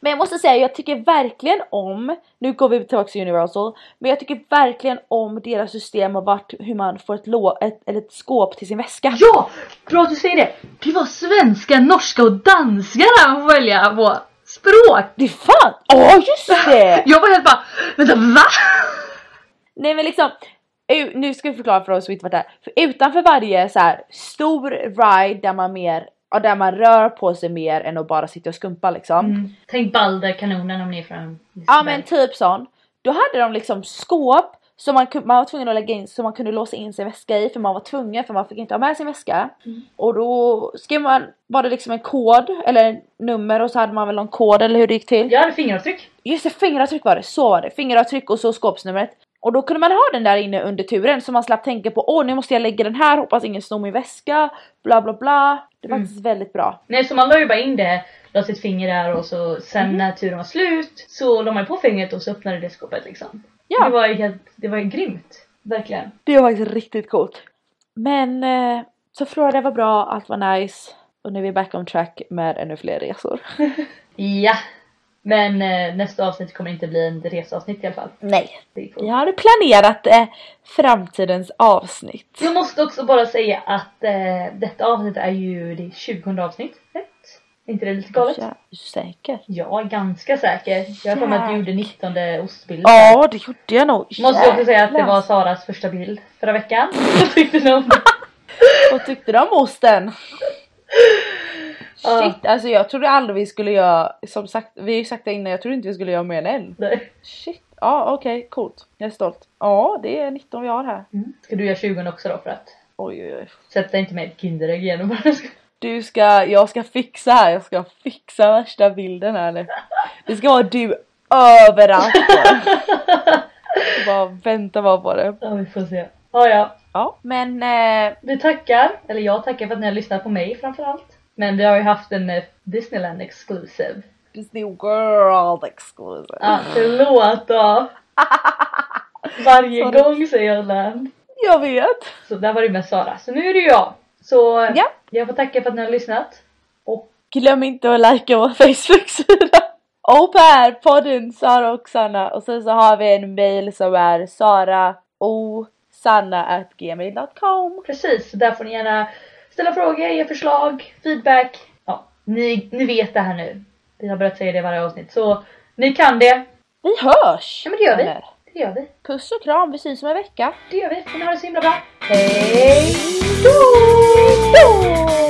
[SPEAKER 2] men jag måste säga, jag tycker verkligen om, nu går vi tillbaka till Universal, men jag tycker verkligen om deras system och vart, hur man får ett, lå, ett, eller ett skåp till sin väska.
[SPEAKER 1] Ja! Bra att du säger det! Det var svenska, norska och danska där man får välja på språk!
[SPEAKER 2] Det är fan! Ja just det!
[SPEAKER 1] Jag var helt bara, vänta va?
[SPEAKER 2] Nej men liksom, u- nu ska jag förklara för oss som inte varit där. För utanför varje så här stor ride där man mer, ja, där man rör på sig mer än att bara sitta och skumpa liksom.
[SPEAKER 1] Mm. Tänk Balder-kanonen om ni är från
[SPEAKER 2] Ja men typ sån. Då hade de liksom skåp som man, kun- man var tvungen att lägga in, som man kunde låsa in sin väska i för man var tvungen för man fick inte ha med sin väska. Och då skrev man, var det liksom en kod eller nummer och så hade man väl någon kod eller hur det gick till.
[SPEAKER 1] Jag hade fingeravtryck.
[SPEAKER 2] Just det, fingeravtryck var det. Så var det. Fingeravtryck och så skåpsnumret. Och då kunde man ha den där inne under turen så man slapp tänka på åh nu måste jag lägga den här, hoppas ingen snor min väska, bla bla bla. Det var
[SPEAKER 1] Mm.
[SPEAKER 2] faktiskt väldigt bra.
[SPEAKER 1] Nej så man la ju bara in det, la sitt finger där och så sen
[SPEAKER 2] Mhm.
[SPEAKER 1] när turen var slut så la man på fingret och så öppnade det skåpet liksom.
[SPEAKER 2] Ja.
[SPEAKER 1] Det var ju helt, det var ju grymt. Verkligen.
[SPEAKER 2] Det var faktiskt riktigt coolt. Men eh, så Florida var bra, allt var nice. Och nu är vi back on track med ännu fler resor.
[SPEAKER 1] Ja. Men eh, nästa avsnitt kommer inte bli en reseavsnitt i alla fall.
[SPEAKER 2] Nej.
[SPEAKER 1] Det får-
[SPEAKER 2] Jag hade planerat eh, framtidens avsnitt.
[SPEAKER 1] Jag måste också bara säga att eh, detta avsnitt är ju det 20 avsnitt. Rätt? Är inte det lite galet?
[SPEAKER 2] Ja, är du säker?
[SPEAKER 1] Jag är ganska säker. Jag har för mig att du gjorde 19 ostbilden.
[SPEAKER 2] Ja, det gjorde jag nog.
[SPEAKER 1] Måste också säga att det
[SPEAKER 2] Jävlar.
[SPEAKER 1] var Saras första bild förra veckan. Vad tyckte ni om det?
[SPEAKER 2] Vad tyckte du om osten?
[SPEAKER 1] Ja.
[SPEAKER 2] Shit, alltså jag trodde aldrig vi skulle göra, som sagt, vi har ju sagt det innan, jag trodde inte vi skulle göra mer än en.
[SPEAKER 1] Nej.
[SPEAKER 2] Shit, ja okej, coolt. Jag är stolt. Ja, det är 19 vi har här.
[SPEAKER 1] Ska du göra 20 också då för att
[SPEAKER 2] Oj oj oj.
[SPEAKER 1] sätta inte med ett Kinderägg igen och bara ska...
[SPEAKER 2] Du ska, jag ska fixa här, jag ska fixa värsta bilden här nu. Det ska vara du överallt. bara vänta bara på det.
[SPEAKER 1] Ja vi får se. Ja ja.
[SPEAKER 2] Ja, men eh,
[SPEAKER 1] Vi tackar, eller jag tackar för att ni har lyssnat på mig framförallt. Men vi har ju haft en eh, Disneyland exclusive.
[SPEAKER 2] Disney World exclusive.
[SPEAKER 1] Ah, förlåt då! Varje
[SPEAKER 2] Sorry.
[SPEAKER 1] gång säger jag land.
[SPEAKER 2] Jag vet.
[SPEAKER 1] Så där var det med Sara. Så nu är det jag. Så eh,
[SPEAKER 2] Ja.
[SPEAKER 1] jag får tacka för att ni har lyssnat. Och
[SPEAKER 2] Glöm inte att likea vår Facebook-sida. Och här, podden Sara och Sanna. Och sen så har vi en mail som är saraosanna.gmail.com
[SPEAKER 1] precis, där får ni gärna ställa frågor, ge förslag, feedback. Ja, ni, ni vet det här nu. Vi har börjat säga det i varje avsnitt. Så ni kan det.
[SPEAKER 2] Vi hörs!
[SPEAKER 1] Ja, men det gör vi.
[SPEAKER 2] vänner.
[SPEAKER 1] Det gör vi.
[SPEAKER 2] Puss och kram, vi syns om en vecka.
[SPEAKER 1] Det gör vi. Får ni ha det så himla bra. Hej då!
[SPEAKER 2] Då!